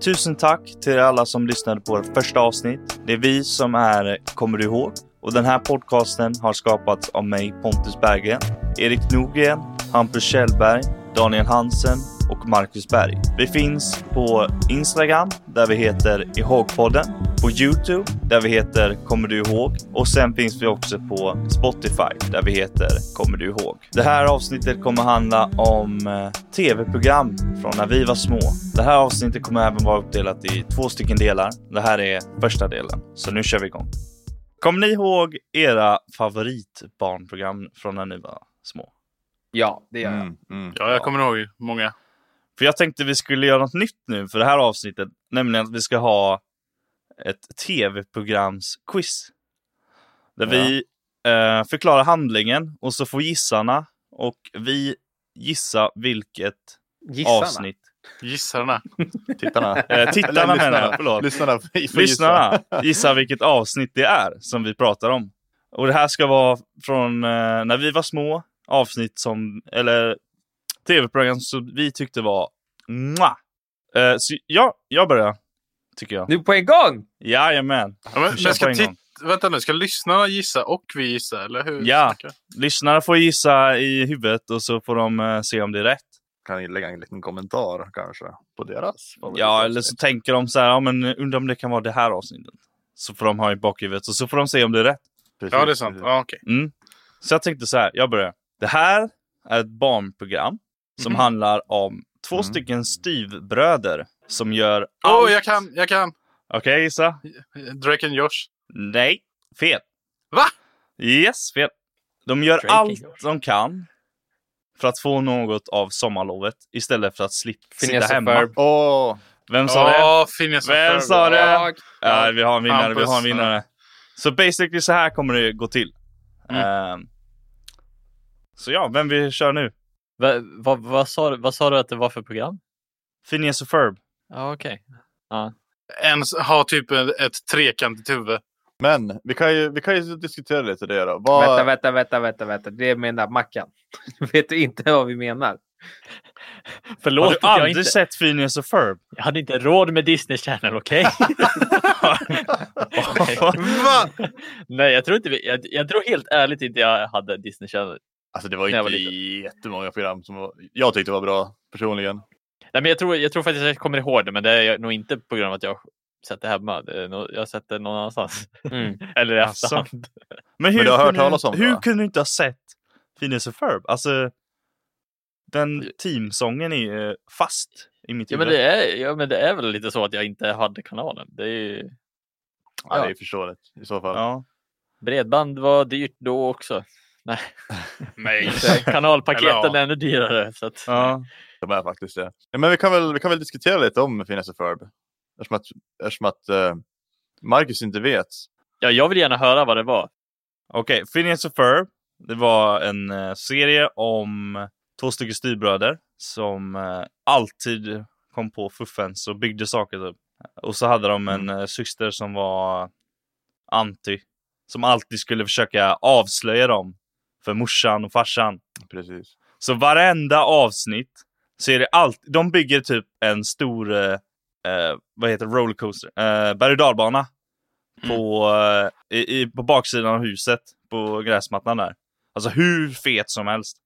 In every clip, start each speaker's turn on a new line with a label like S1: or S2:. S1: tusen tack till alla som lyssnade på vårt första avsnitt. Det är vi som är Kommer du ihåg? Och den här podcasten har skapats av mig, Pontus Berggren, Erik Nogren, Hampus Kjellberg, Daniel Hansen och Marcus Berg. Vi finns på Instagram där vi heter Ihågpodden, på Youtube där vi heter Kommer du ihåg? Och sen finns vi också på Spotify där vi heter Kommer du ihåg? Det här avsnittet kommer handla om eh, tv-program från när vi var små. Det här avsnittet kommer även vara uppdelat i två stycken delar. Det här är första delen, så nu kör vi igång. Kommer ni ihåg era favoritbarnprogram från när ni var små?
S2: Ja, det gör jag.
S3: Mm, mm.
S4: Ja, jag kommer ihåg många.
S1: För jag tänkte vi skulle göra något nytt nu för det här avsnittet, nämligen att vi ska ha ett tv-programsquiz. Där vi eh, förklarar handlingen och så får gissarna och vi gissa vilket
S2: Gissarna.
S1: avsnitt.
S4: Gissarna.
S3: Tittarna.
S1: Eh, tittarna
S3: Eller
S1: menar jag, förlåt.
S3: Lyssnarna. får gissa.
S1: Lyssnarna gissar vilket avsnitt det är som vi pratar om. Och det här ska vara från eh, när vi var små, avsnitt som, eller tv-program som vi tyckte var mwah. Eh, så ja, jag börjar, tycker jag.
S2: Nu på en gång!
S1: Jajamän.
S4: Ja, men,
S1: Vi kör
S4: men ska
S1: på en
S4: tit-
S1: gång.
S4: Vänta nu, ska lyssnarna gissa och vi gissa, eller hur?
S1: Ja.
S4: Okej.
S1: Lyssnarna får gissa i huvudet och så får de eh, se om det är rätt.
S3: Kan jag lägga en liten kommentar kanske på deras favorit-
S1: Ja, eller så tänker de så här, ja men undrar om det kan vara det här avsnittet. Så får de ha i bakhuvudet och så får de se om det är rätt.
S3: Precis,
S4: Ja, det är sant.
S3: precis.
S4: Ja, okej.
S1: Mm. Så jag tänkte så här, jag börjar. Det här är ett barnprogram som
S4: Mhm.
S1: handlar om två
S3: Mm.
S1: stycken styvbröder som gör
S4: Åh,
S1: allt.
S4: jag kan, jag kan!
S1: Okej, gissa.
S4: Drake and Josh.
S1: Nej, fel.
S4: Va?
S1: Yes, fel. De gör
S2: Drake
S1: allt
S2: and Josh.
S1: de kan för att få något av sommarlovet istället för att slippa sitta
S2: Phineas och
S1: hemma.
S2: Ferb.
S3: Åh,
S1: Vem sa det?
S4: Ja, Phineas och
S1: Vem
S4: Ferb.
S1: sa det?
S2: Jag.
S1: Ja, vi har en vinnare, vi
S4: Hampus.
S1: har en vinnare. Så basically så här kommer det gå till.
S4: Mm.
S1: Ehm, så ja, vem vi kör nu?
S5: Va, va, vad, sa, du- vad sa du att det var för program?
S1: Phineas och Ferb.
S5: Ja, okej.
S4: En s- har typ ett, ett trekantigt huvud.
S3: men vi kan, ju, vi kan ju diskutera lite det då. Vad,
S2: Vänta, vänta, vänta, vänta, vänta. Det menar Mackan. Vet du inte vad vi menar?
S1: Har
S5: Förlåt,
S1: du
S5: att jag,
S1: aldrig
S5: inte,
S1: sett Phineas och Ferb?
S5: jag hade inte råd med Disney Channel, okej? Nej.
S3: Va?
S5: Nej, jag tror inte vi, jag, jag tror helt ärligt inte jag hade Disney Channel.
S3: Alltså det var
S5: När
S3: inte
S5: jag var
S3: jättemånga program som var, jag tyckte var bra personligen.
S5: Nej, men jag, tror, jag tror faktiskt att jag kommer ihåg det, men det är jag nog inte på grund av att jag sett det hemma. Det är nog- Jag har sett det någon annanstans.
S2: Mm.
S5: Eller i
S1: Asså.
S5: efterhand.
S1: Men hur,
S3: du har hört
S1: kunde,
S3: talas om det,
S1: hur
S3: va?
S1: kunde du inte ha sett Phineas och Ferb? Alltså, den teamsången är ju eh, fast i mitt
S5: Ja
S1: huvud.
S5: men, det är, ja, men det är väl lite så att jag inte hade kanalen. Det är ju,
S3: Ja.
S5: Ja.
S3: det är förståeligt i så fall.
S1: Ja.
S5: bredband var dyrt då också.
S4: Nej.
S5: Kanalpaketen
S4: Eller
S5: är ännu dyrare. Så att,
S1: Ja.
S3: De är faktiskt det. Ja, men vi kan, väl, vi kan väl diskutera lite om Phineas och Ferb. Eftersom att, eftersom att eh, Marcus inte vet.
S5: ja, jag vill gärna höra vad det var.
S1: Okej, Phineas och Ferb. Det var en eh, serie om två stycken styvbröder som eh, alltid kom på fuffens och byggde saker. Typ. Och så hade de en eh, syster som var anti, som alltid skulle försöka avslöja dem för morsan och farsan.
S3: Precis.
S1: Så varenda avsnitt så är det allt. De bygger typ en stor, eh, eh, vad heter det? rollercoaster, eh, berg och dalbana. På, eh, i, i, på baksidan av huset, på gräsmattan där. Alltså hur fet som helst.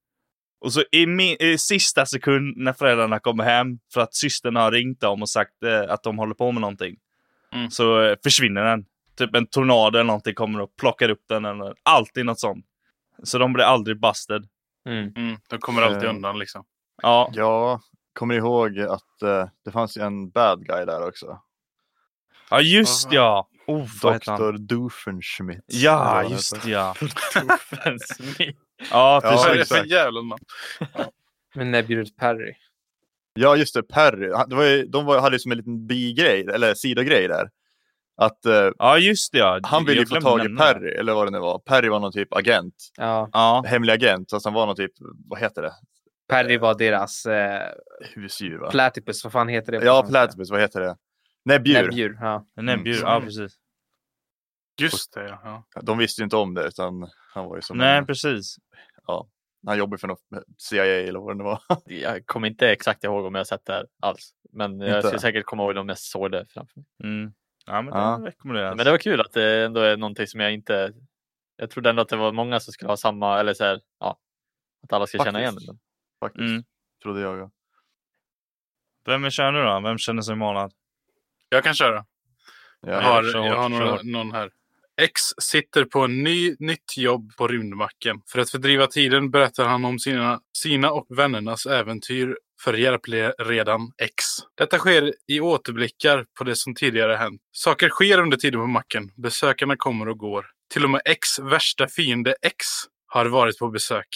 S1: Och så i, mi- i sista sekund när föräldrarna kommer hem för att systern har ringt dem och sagt eh, att de håller på med någonting.
S4: Mm.
S1: Så eh, försvinner den. Typ en tornado eller någonting kommer och plockar upp den. Eller, alltid något sånt. Så de blir aldrig busted.
S4: Mm, de kommer alltid
S3: Eh.
S4: undan liksom.
S1: Ja,
S3: Jag kommer ihåg att eh, det fanns ju en bad guy där också.
S1: Ja just
S4: Vad-
S1: ja! Oh, vad heter han?
S3: Dr. Doofenschmidt. Eller vad
S1: Ja,
S3: han
S1: just
S3: heter.
S1: ja.
S5: Fan, smitt.
S1: Ja,
S3: Ja,
S4: Vad är det
S1: precis.
S4: för
S3: exakt.
S4: jävla man?
S2: Men när bjuds Perry?
S3: Ja, just det. Perry. Han- Det var ju, de var, hade ju som en liten bigrej, eller sidogrej där. Att eh,
S1: Ja, just ja.
S3: han ville ju
S1: Jag
S3: få
S1: glömde
S3: tag i
S1: nämna det.
S3: Perry, eller vad det nu var. Perry var någon typ agent.
S2: Ja,
S1: Ja,
S3: Hemlig agent. Alltså han var någon typ, vad heter det?
S2: Perry var deras eh,
S3: Husdjur va?
S2: platypus. Vad fan heter det? på
S3: ja,
S2: svenska?
S3: platypus. Vad heter det? Näbbdjur.
S2: Näbbdjur. Ja.
S1: Nebbjur.
S3: Mm.
S1: Ja, precis.
S4: Just det, ja.
S3: De visste ju inte om det utan han var ju som
S1: Nej,
S3: en,
S1: precis.
S3: han jobbade för något CIA eller vad det nu var.
S5: Jag kommer inte exakt ihåg om jag har sett det här alls. Men
S3: Inte?
S5: jag skulle säkert komma ihåg det om jag såg det framför mig.
S1: Mm. Ja, men
S3: Ja.
S1: det rekommenderas.
S5: Men det var kul att det ändå är någonting som jag inte... Jag trodde ändå att det var många som skulle ha samma, eller så här, ja. Att alla skulle känna igen
S3: Faktiskt.
S5: den.
S3: Faktiskt,
S1: Mm.
S3: trodde jag. ja.
S1: Vem vill köra nu då? Vem känner sig manad?
S4: Jag kan köra. Jag
S3: Ja.
S1: Jaha.
S4: har,
S1: kör hårt,
S4: jag har
S1: kör hårt.
S4: någon, någon här. X sitter på en ny, nytt jobb på rymdmacken. För att fördriva tiden berättar han om sina, sina och vännernas äventyr för hjälpredan X. Detta sker i återblickar på det som tidigare hänt. Saker sker under tiden på macken. Besökarna kommer och går. Till och med X värsta fiende X har varit på besök.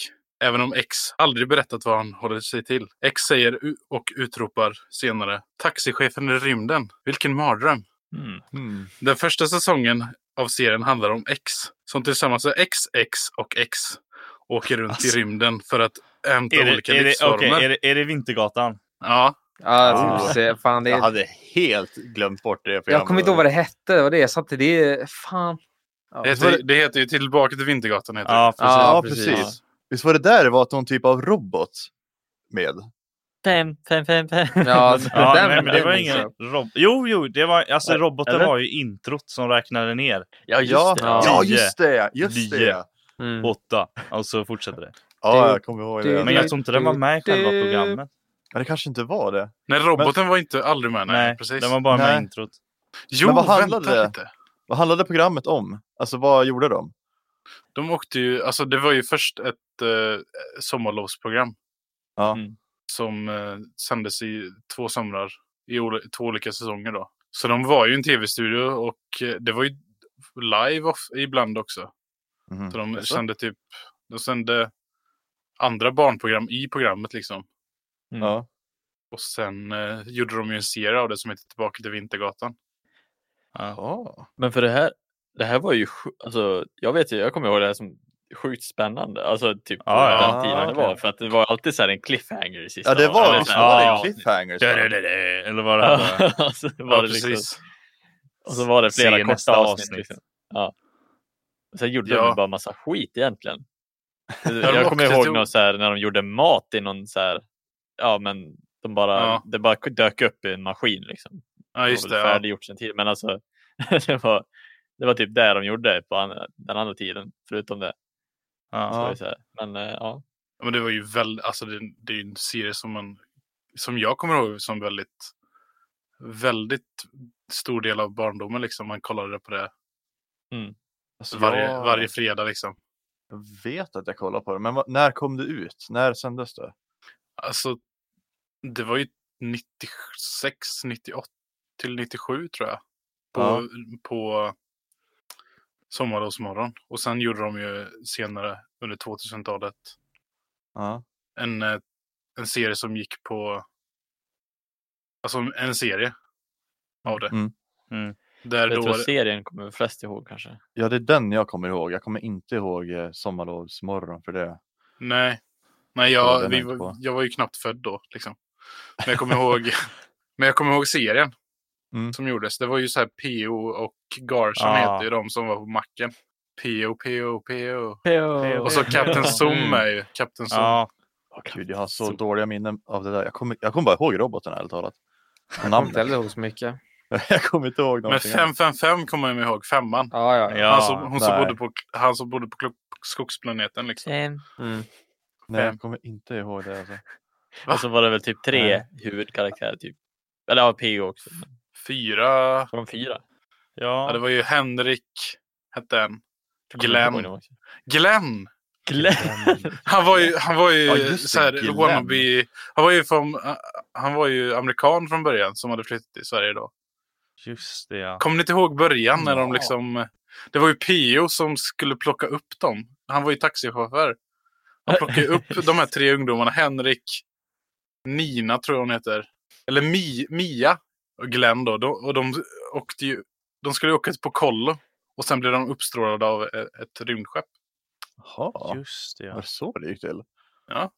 S4: Även om X aldrig berättat vad han håller sig till. X säger u- och utropar senare. Taxichefen i rymden. Vilken mardröm.
S5: Mm.
S3: Mm.
S4: Den första säsongen av serien handlar om X. Som tillsammans är X, X och X. Åker runt
S1: Alltså.
S4: i rymden för att hämta
S1: Är det,
S4: olika
S1: är, det,
S4: livsformer.
S1: okej, är, det, är det Vintergatan?
S4: Ja,
S2: Ja,
S3: Ah.
S2: typ, se, fan, det
S3: Jag
S2: är...
S3: hade helt glömt bort det programmet.
S2: Jag kommer inte ihåg vad det hette. Och det är, så att det är fan.
S4: det heter, det heter ju Tillbaka till Vintergatan. Heter
S1: Ja, precis.
S2: Ja,
S3: Ja,
S2: precis.
S3: precis. Visst var det där det var någon typ av robot med?
S5: Fem, fem, fem, fem.
S2: Ja,
S1: Ja,
S2: den-
S1: nej, men det
S2: den
S1: var
S2: minns
S1: ingen
S2: jag.
S1: rob- Jo, jo, det var, alltså,
S5: Eller?
S1: roboten var ju introt som räknade ner.
S5: Ja, just
S3: Ja,
S5: det.
S2: Ja.
S3: ja, just det! Just
S1: Nio.
S3: det! Ja,
S2: Mm.
S1: Åtta. Och så fortsätter det.
S2: Det-
S3: jag kommer ihåg
S2: det-
S3: det.
S1: Men jag tror inte den var med i själva
S2: Det-
S1: programmet.
S3: Men det kanske inte var det.
S4: Nej, roboten var inte aldrig med. Nej,
S1: Nej,
S4: precis.
S1: den var bara med
S3: Nej.
S1: i introt.
S4: Jo,
S3: Men vad handlade
S4: vänta
S3: det?
S4: lite.
S3: Vad handlade programmet om? Alltså vad gjorde de?
S4: De åkte ju, alltså det var ju först ett eh, sommarlovsprogram.
S3: Ja.
S5: Mm.
S4: Som eh, sändes i två somrar, i ol- två olika säsonger då. Så de var ju i en tv-studio och eh, det var ju live off- ibland också.
S3: Mhm.
S4: Så de
S3: Jaså?
S4: sände typ, de sände andra barnprogram i programmet liksom.
S5: Mm.
S3: Ja.
S4: Och sen eh, gjorde de ju en serie av det som heter Tillbaka till Vintergatan.
S3: Ja.
S5: Men för det här, det här var ju, sj- alltså, jag vet ju, jag kommer ihåg det här som sjukt spännande. Alltså typ på
S1: Ja,
S3: ja.
S5: den tiden det var. För att det var alltid så här en cliffhanger i sista.
S3: ja, det var,
S5: eller
S3: visst
S5: så
S1: det
S5: här,
S3: var
S1: ja.
S3: det en cliffhanger? så?
S1: Dö-dö-dö-dö, Eller vad det här var.
S5: Ja, och så var det liksom, och så var det
S1: Se
S5: flera
S1: nästa
S5: korta avsnitt.
S1: avsnitt.
S5: Liksom. Ja. Och Sen gjorde
S4: Ja.
S5: de bara massa skit egentligen.
S4: de
S5: jag kommer
S4: åkte
S5: ihåg
S4: till-
S5: någon så här, när de gjorde mat i någon så här, ja men de bara,
S4: Ja.
S5: det bara dök upp i en maskin liksom.
S4: Ja, just det.
S5: var väl
S4: Ja.
S5: färdiggjort sen tidigare. Men alltså, det, var, det var typ det de gjorde på an- den andra tiden, förutom det. Så
S1: Ja.
S5: var det så här. Men eh, ja.
S4: Ja, Men det var ju väldigt, alltså det, det är ju en serie som man, som jag kommer ihåg som väldigt, väldigt stor del av barndomen liksom. Man kollade på det
S3: Alltså,
S4: varje,
S3: jag-
S4: varje fredag liksom.
S3: Jag vet att jag kollade på det, men vad- när kom det ut? När sändes det?
S4: Alltså, det var ju 96, 98 till 97 tror jag. På,
S3: Ja.
S4: på Sommarlovsmorgon. Och sen gjorde de ju senare under 2000-talet
S3: Ja.
S4: en, eh, en serie som gick på... Alltså en serie av det.
S3: Mm.
S1: Mm.
S4: Där
S5: Jag
S4: då...
S5: tror serien kommer flest ihåg kanske.
S3: ja, det är den jag kommer ihåg. Jag kommer inte ihåg eh, Sommarlovsmorgon för det.
S4: Nej. Nej,
S3: Kollade
S4: jag,
S3: den
S4: vi,
S3: inte
S4: var-
S3: på.
S4: jag var ju knappt född då. Liksom. Men, jag kommer ihåg, men jag kommer ihåg serien
S3: Mm.
S4: som gjordes. Det var ju så här P.O. och Garson
S1: Ja.
S4: hette ju de som var på macken. P.O. P.O. P.O.
S1: Och
S4: Och så Kapten Zoom
S1: Mm.
S4: är ju Kapten Zoom.
S1: Ja,
S3: Åh, Gud, jag har så
S5: Så-
S3: dåliga minnen av det där. Jag kommer, jag kommer bara ihåg roboten ärligt talat.
S2: Jag kommer inte
S3: Namnet.
S2: heller ihåg så mycket.
S3: Jag kommer inte ihåg
S4: men
S3: någonting. annat.
S4: 555 kommer jag ihåg, femman.
S2: Ja, ja. ja.
S1: Ja,
S4: han, som, hon som
S3: nej.
S4: bodde på, han som bodde på klo- skogsplaneten. Liksom.
S2: Mm.
S3: Nej, jag kommer inte ihåg det. Alltså.
S5: Och så var det väl typ tre huvudkaraktärer. Typ. Eller ja, PO också. men
S4: Fyra.
S5: Var de fyra?
S4: Ja, det
S1: ja.
S4: var ju Henrik, hette en.
S5: Jag kommer
S4: Glenn.
S5: inte ihåg dem också.
S4: Glenn!
S5: Glenn!
S4: Han var ju, han var ju
S3: Ja, just det,
S4: så här,
S3: Gillen.
S4: wannabe, han var ju, från, han var ju amerikan från början som hade flyttat till Sverige då.
S1: Just det, ja.
S4: Kommer ni inte ihåg början när de
S3: Ja.
S4: liksom... Det var ju Pio som skulle plocka upp dem. Han var ju taxichaufför. Han plockade ju upp de här tre ungdomarna. Henrik, Nina tror jag hon heter. Eller Mi, Mia och Glenn då. De, och de, åkte ju, de skulle ju åka på kollo. Och sen blev de uppstrålade av ett, ett rymdskepp.
S3: Jaha,
S1: Just det,
S3: var
S1: ja.
S3: det så det gick till?
S4: Ja.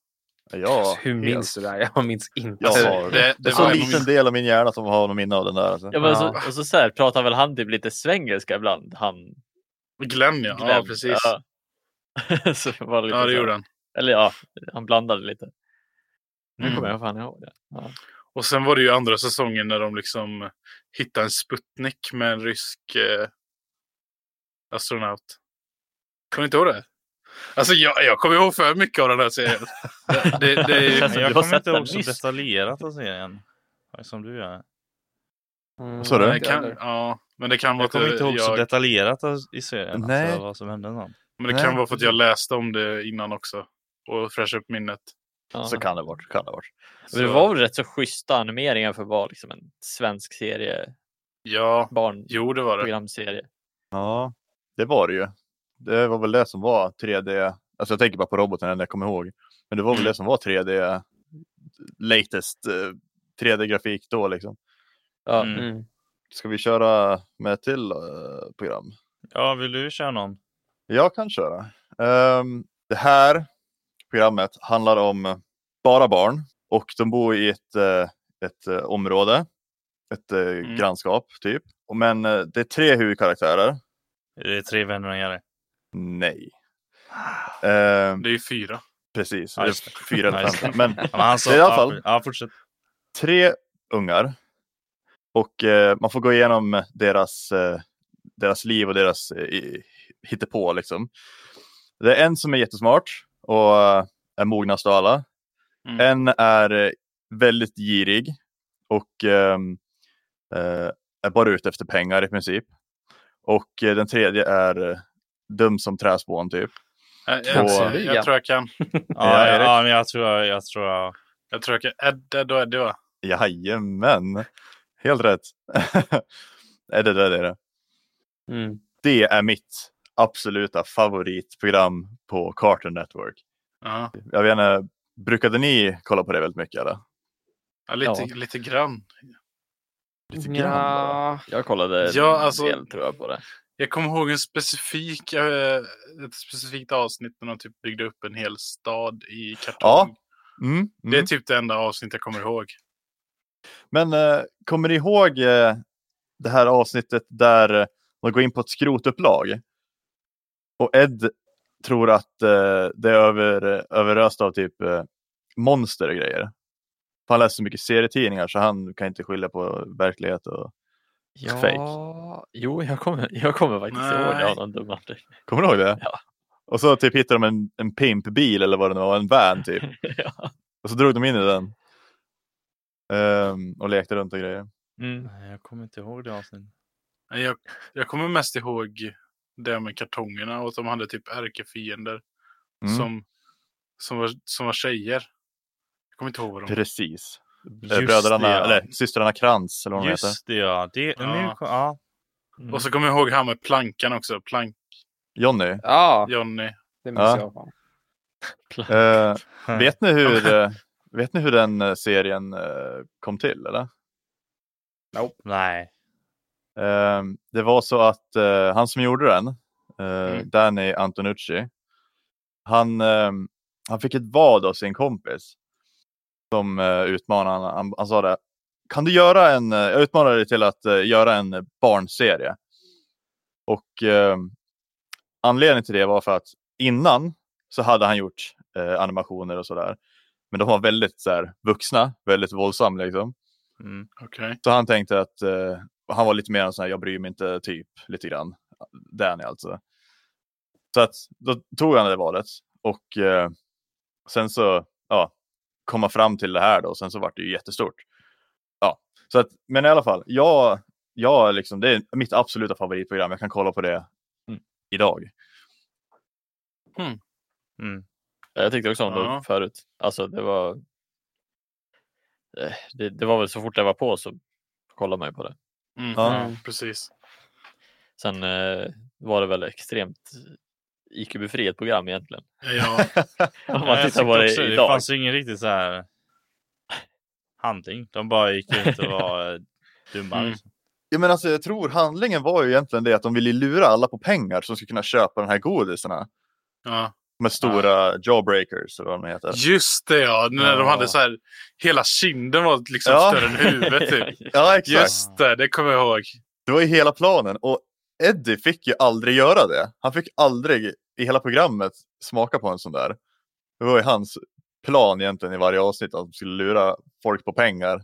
S3: Ja,
S2: Hur
S3: helt.
S2: minns du det här? Jag minns inte.
S3: Jag
S4: Alltså,
S3: har det.
S4: det-
S3: Det,
S4: det
S3: är så
S4: var-
S3: liten del av min hjärna som har något minne av den där. Alltså.
S5: ja, men så,
S2: Ja.
S5: och så, så här, pratar väl han typ lite svengelska ibland? Han,
S4: Glenn ja, ja
S5: Glenn.
S4: precis. Ja,
S5: Ja. så var det lite
S4: ja
S5: så
S4: det
S5: här-
S4: gjorde han.
S5: Eller ja, han blandade lite. Nu
S4: Mm.
S5: kommer jag fan ihåg det.
S4: Och sen var det ju andra säsongen när de liksom hittade en Sputnik med en rysk eh, astronaut. Kommer ni inte ihåg det? Alltså jag, jag kommer ihåg för mycket av den här serien. Det, det, det är ju...
S5: Men
S1: jag
S5: du har
S1: kommer
S5: sett
S1: inte
S5: den
S1: ihåg så
S5: nyss.
S1: detaljerat av serien. Som du gör.
S2: Vad
S3: sa du?
S4: Det kan, ja, men det kan vara
S1: Jag
S4: att
S1: kommer inte ihåg så
S4: jag,
S1: detaljerat av- i serien.
S3: Nej.
S1: Alltså, vad som hände någon.
S4: men det
S3: Nej.
S4: kan vara för att jag läste om det innan också. Och fräschade upp minnet.
S5: Ja.
S3: Så kan det vara. Kan det vara.
S5: Men det
S4: Så-
S5: var väl rätt så schyssta animeringar för att vara liksom en svensk serie,
S4: Ja,
S5: barnprogramserie.
S4: jo det var det.
S3: Ja, det var det ju. Det var väl det som var 3D. Alltså jag tänker bara på roboten när jag kommer ihåg. Men det var väl det som var 3D. Latest eh, 3D-grafik då liksom.
S5: Ja.
S1: Mm.
S2: Mm.
S3: Ska vi köra med ett till eh, program?
S1: Ja, vill du köra någon?
S3: Jag kan köra. Ehm, det här programmet handlar om eh, bara barn och de bor i ett, eh, ett eh, område, ett eh, grannskap typ. Och Men eh, det är tre huvudkaraktärer.
S1: Är det tre vänner och Jerry?
S3: Nej. Ehm,
S4: Det är ju fyra.
S3: precis,
S1: Ja,
S3: det är
S1: just det.
S3: fyra eller
S1: Ja, just
S3: fem.
S1: det.
S3: Men
S1: Ja, men han sa,
S3: I alla
S1: ja,
S3: fall.
S1: Ja, fortsätt.
S3: tre ungar och eh, man får gå igenom deras, eh, deras liv och deras eh, i- hittepå liksom. Det är en som är jättesmart och eh, är mognast av alla.
S4: Mm.
S3: En är eh, väldigt girig och ehm, eh, är bara ute efter pengar i princip. Och eh, den tredje är eh, dum som träspån typ.
S4: Jag,
S3: Två.
S4: jag, jag, jag tror jag kan.
S1: Ja,
S3: Erik.
S1: ja, ja, men jag tror jag, jag tror jag...
S4: Jag tror jag kan. Ed, Ed och Eddie va?
S3: Jajamän, helt rätt. är det där det är det.
S2: Mm.
S3: det är mitt absoluta favoritprogram på Cartoon Network.
S4: Ja,
S3: Jag vet inte, brukade ni kolla på det väldigt mycket eller?
S4: ja, lite,
S5: Ja.
S4: lite grann.
S3: Lite bara.
S2: Ja.
S5: Jag kollade
S4: Ja, alltså-
S5: en del tror jag på det.
S4: Jag kommer ihåg en specifik, eh, ett specifikt avsnitt när de typ byggde upp en hel stad i kartong.
S3: Ja. Mm,
S4: Det är
S3: mm.
S4: typ det enda avsnitt jag kommer ihåg.
S3: Men eh, kommer ni ihåg eh, det här avsnittet där eh, de går in på ett skrotupplag? Och Ed tror att eh, det är över, överöst av typ eh, monster och grejer. För han läser så mycket serietidningar så han kan inte skilja på verklighet och...
S5: Ja,
S3: Fake.
S5: jo, jag kommer, jag kommer faktiskt ihåg det
S4: Nej.
S5: av någon dum anledning.
S3: Kommer du ihåg det?
S5: Ja.
S3: Och så typ hittade de en, en pimpbil eller vad det nu var, en van typ.
S5: ja.
S3: Och så drog de in i den. Ehm, och lekte runt och grejer.
S5: mm.
S1: Nej, Jag kommer inte ihåg det avsnittet.
S4: Nej, Eh, Jag, jag kommer mest ihåg det med kartongerna och att de hade typ ärkefiender
S3: Mm.
S4: som, som, var, som var tjejer. Jag kommer inte ihåg vad de
S3: Precis.
S1: Just
S3: Eh, Bröderna,
S1: det, ja.
S3: eller systrarna Krantz eller vad de heter.
S1: Just det, ja. Det, Nu,
S4: Ja.
S1: kom- ja.
S5: Mm.
S4: Och så kommer jag ihåg han med plankan också. Plank,
S3: Jonny.
S2: ja,
S4: Johnny.
S2: det minns
S3: Ja.
S2: jag. Fan.
S3: Eh, vet, ni hur, eh, vet ni hur den eh, serien eh, kom till? Eller?
S1: Nej.
S3: Ehm, det var så att eh, han som gjorde den, eh,
S4: Mm.
S3: Danny Antonucci, han, ehm, han fick ett vad av sin kompis som eh, utmanade honom. Han, han sa det, kan du göra en, eh, jag utmanar dig till att eh, göra en barnserie. Och ehm, anledningen till det var för att innan så hade han gjort eh, animationer och sådär. Men de var väldigt så här, vuxna, väldigt våldsamma liksom.
S1: Mm.
S4: Okej.
S3: Så han tänkte att eh, han var lite mer en sån här jag bryr mig inte typ lite grann. Danny alltså. Så att då tog han det valet och eh, sen så ja, kom han fram till det här då. Sen så vart det ju jättestort. Ja, så att, men i alla fall, jag, jag liksom, det är mitt absoluta favoritprogram. Jag kan kolla på det
S5: Mm.
S3: idag.
S1: Mm.
S5: Ja, Jag tyckte också om
S4: Ja.
S5: det förut. Alltså det var... Eh, Det, det var väl så fort jag var på så kollade man ju på det.
S4: Mm,
S3: Ja.
S4: ja, precis.
S5: Sen eh, var det väl extremt IQ-befriat program egentligen.
S4: Ja,
S5: Om
S1: Ja,
S5: man
S1: jag
S5: tittar på
S1: tyckte
S5: det
S1: också Det
S5: idag.
S1: fanns ju ingen riktigt så här handling. De bara gick ut och var eh, dumma.
S4: Mm.
S1: liksom.
S3: Jag, men alltså, jag tror handlingen var ju egentligen det att de ville lura alla på pengar som skulle kunna köpa de här godisarna.
S4: ja.
S3: Med stora jawbreakers eller vad de heter.
S4: Just det ja, när de
S3: Ja.
S4: hade så här, hela kinden var liksom
S3: Ja.
S4: större än huvudet typ.
S3: Ja, exakt.
S4: Just det, det kommer jag ihåg.
S3: Det var ju hela planen och Eddie fick ju aldrig göra det. Han fick aldrig i hela programmet smaka på en sån där. Det var ju hans plan egentligen i varje avsnitt att de skulle lura folk på pengar